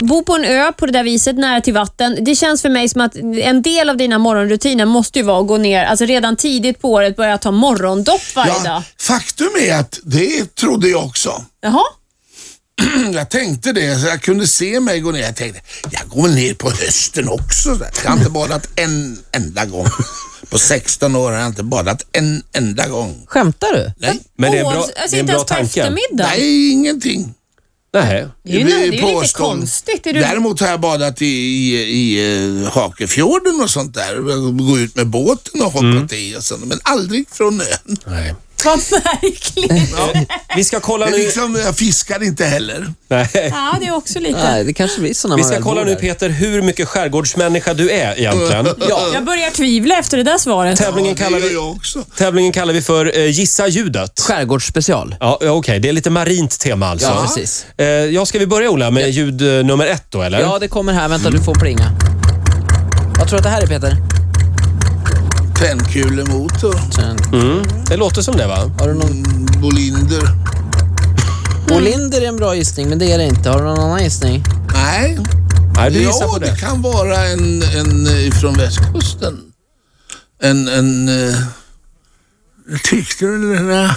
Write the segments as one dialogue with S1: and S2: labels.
S1: bo på en ö på det där viset, nära till vatten. Det känns för mig som att en del av dina morgonrutiner måste ju vara att gå ner, alltså redan tidigt på året börja ta morgondopp varje dag.
S2: Ja, faktum är att det trodde jag också.
S1: Jaha?
S2: Jag tänkte det, så jag kunde se mig gå ner. Jag tänkte, jag går väl ner på hösten också. Jag har inte badat en enda gång. På 16 år har jag inte badat en enda gång.
S3: Skämtar du?
S2: Nej,
S4: Men det är en
S1: Åh,
S4: bra,
S1: alltså
S4: det är en
S1: inte
S4: bra
S1: ens på
S4: tanke.
S1: eftermiddagen.
S2: nej ingenting.
S4: Nej.
S1: Det är ju,
S2: blir
S1: det är ju lite
S2: påstånd.
S1: konstigt. Är du...
S2: Däremot har jag badat i, i, i eh, Hakefjorden och sånt där. Gå ut med båten och hoppat i och sånt. Men aldrig från ön.
S4: Nej.
S1: Vad märkligt.
S4: Vi ska kolla
S2: Det är
S4: nu...
S2: liksom, jag fiskar inte heller.
S4: Nej.
S1: Ja, det är också lite...
S3: Nej, det kanske blir så när
S4: Vi
S3: man
S4: ska
S3: väl
S4: kolla
S3: bor
S4: nu
S3: där.
S4: Peter hur mycket skärgårdsmänniska du är egentligen. Ja.
S1: Jag börjar tvivla efter det där svaret.
S4: Tävlingen,
S2: Ja,
S4: kallar
S2: det gör
S4: vi,
S2: jag också.
S4: tävlingen kallar vi för eh, Gissa ljudet.
S3: Skärgårdsspecial.
S4: Ja, ja, Okej, det är lite marint tema alltså.
S3: Ja, precis.
S4: Eh, ja, ska vi börja Ola med ljud eh, nummer ett då eller?
S3: Ja, det kommer här. Vänta, du får plinga. Vad tror du att det här är Peter?
S2: Tändkulemotor.
S3: Mm.
S4: Det låter som det va?
S3: Har du någon...
S2: Mm, Bolinder.
S3: Olinder är en bra gissning, men det är det inte. Har du någon annan gissning?
S2: Nej.
S4: Nej, du gissar
S2: Ja,
S4: på
S2: det.
S4: det.
S2: kan vara en, en eh, från västkusten. En, en... eh, Tyckte du det där?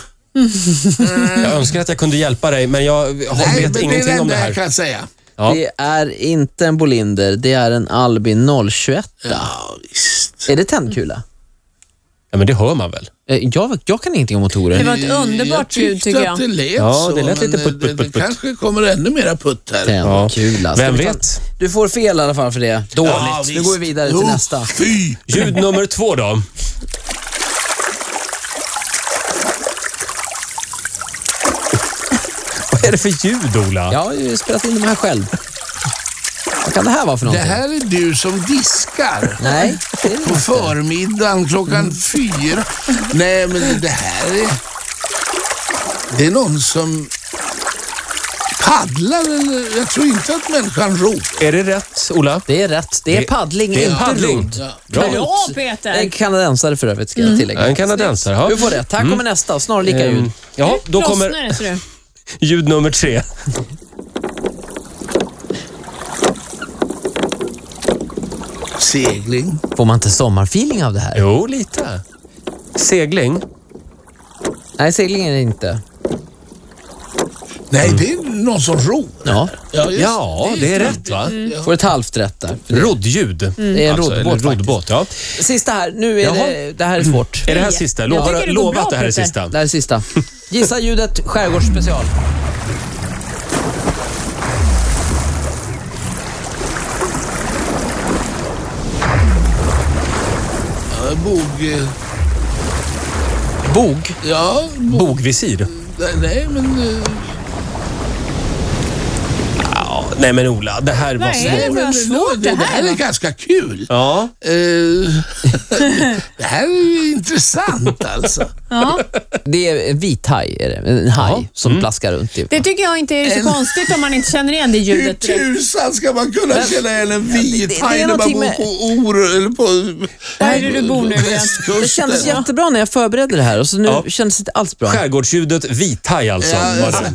S4: Jag önskar att jag kunde hjälpa dig men jag har,
S2: Nej,
S4: vet
S2: men det är det
S4: ingenting om det
S2: enda
S4: här.
S2: jag kan säga.
S4: Ja.
S3: Det är inte en Bolinder, det är en Albin 021.
S2: Ja, visst.
S3: Är det tändkula?
S4: Ja, men det hör man väl?
S3: Eh, Jag, jag kan ingenting om motorer.
S1: Det var ett underbart ljud
S2: tyckte
S1: tycker
S2: att
S1: jag.
S2: det lät
S4: Ja,
S2: så,
S4: det lät
S2: men,
S4: lite putt,
S2: eh,
S4: putt,
S2: det-
S4: putt, putt.
S2: Det kanske kommer ännu mera putt här.
S3: Tändkula. Ska
S4: Vem
S3: vi ta-
S4: vet?
S3: Du får fel i alla fall för det. Dåligt.
S2: Ja,
S3: nu
S2: visst.
S3: går vi vidare till
S2: Jo,
S3: nästa.
S2: Fy!
S4: Ljud nummer två då. Vad är det för ljud, Ola?
S3: Jag har ju spelat in de här själv. Vad kan det här vara för
S2: Det
S3: någonting?
S2: här är du som diskar.
S3: Nej, det är det
S2: På
S3: inte.
S2: förmiddagen klockan fyra. Nej, men det här är... Det är någon som paddlar. eller- Jag tror inte att människan ror.
S4: Är det rätt, Ola?
S3: Det är rätt. Det är paddling,
S4: det är
S3: inte
S4: paddling.
S3: rodd.
S2: Ja.
S4: Bra.
S1: Bra
S3: Det är en
S1: Peter!
S3: kanadensare för övrigt, ska jag tillägga.
S4: En kanadensare, ja. Mm.
S3: Du får rätt. Här kommer nästa, snarlika ljud.
S4: Ehm, Ja, då
S1: Lossnar
S4: kommer
S1: det, ser du.
S4: ljud nummer tre.
S2: Segling.
S3: Får man inte sommarfeeling av det här?
S4: Jo, lite. Segling.
S3: Nej, segling är det inte.
S2: Nej, det är någon som ror.
S3: Ja.
S2: Ja, just
S4: Ja, det är rätt va?
S3: Får ett halvt rätt där.
S4: Roddljud.
S3: Det är en
S4: Alltså,
S3: roddbåt
S4: eller roddbåt, ja.
S3: Sista här. Nu är
S4: Jaha.
S3: det, det här är svårt.
S4: Är det här sista?
S1: Jag
S4: Lovar
S1: tycker det går
S4: lova
S1: bra,
S4: att det här är
S1: Peter.
S4: sista.
S3: Det här är sista. Gissa ljudet, skärgårdsspecial.
S2: Ja, Bog... eh,
S4: Bog.
S2: Ja, bo,
S4: Bogvisir.
S2: nej men... eh,
S4: Ja, nej men Ola, det här var
S1: Nej.
S4: svårt.
S2: nej,
S1: var
S2: men
S1: svårt
S2: det,
S1: det
S2: det
S1: här,
S2: här är
S1: va?
S2: ganska kul.
S4: Ja,
S2: Eh, det här är ju intressant alltså.
S1: Ja.
S3: Det är en vit haj, är det. en haj som
S4: Mm.
S3: plaskar runt. I.
S1: Det tycker jag inte är så konstigt om man inte känner igen det
S2: Hur
S1: ljudet. direkt.
S2: tusan ska man kunna känna igen en
S3: det
S2: vit
S3: är
S2: haj när man
S3: någonting
S2: bor
S3: med-
S2: på Orö eller på
S1: Där är du bor nu igen.
S3: Det
S2: västkusten?
S3: kändes jättebra när jag förberedde det här och så nu
S4: Ja.
S3: kändes det inte alls bra.
S4: skärgårdsljudet vithaj alltså.
S2: Ja,
S4: var det.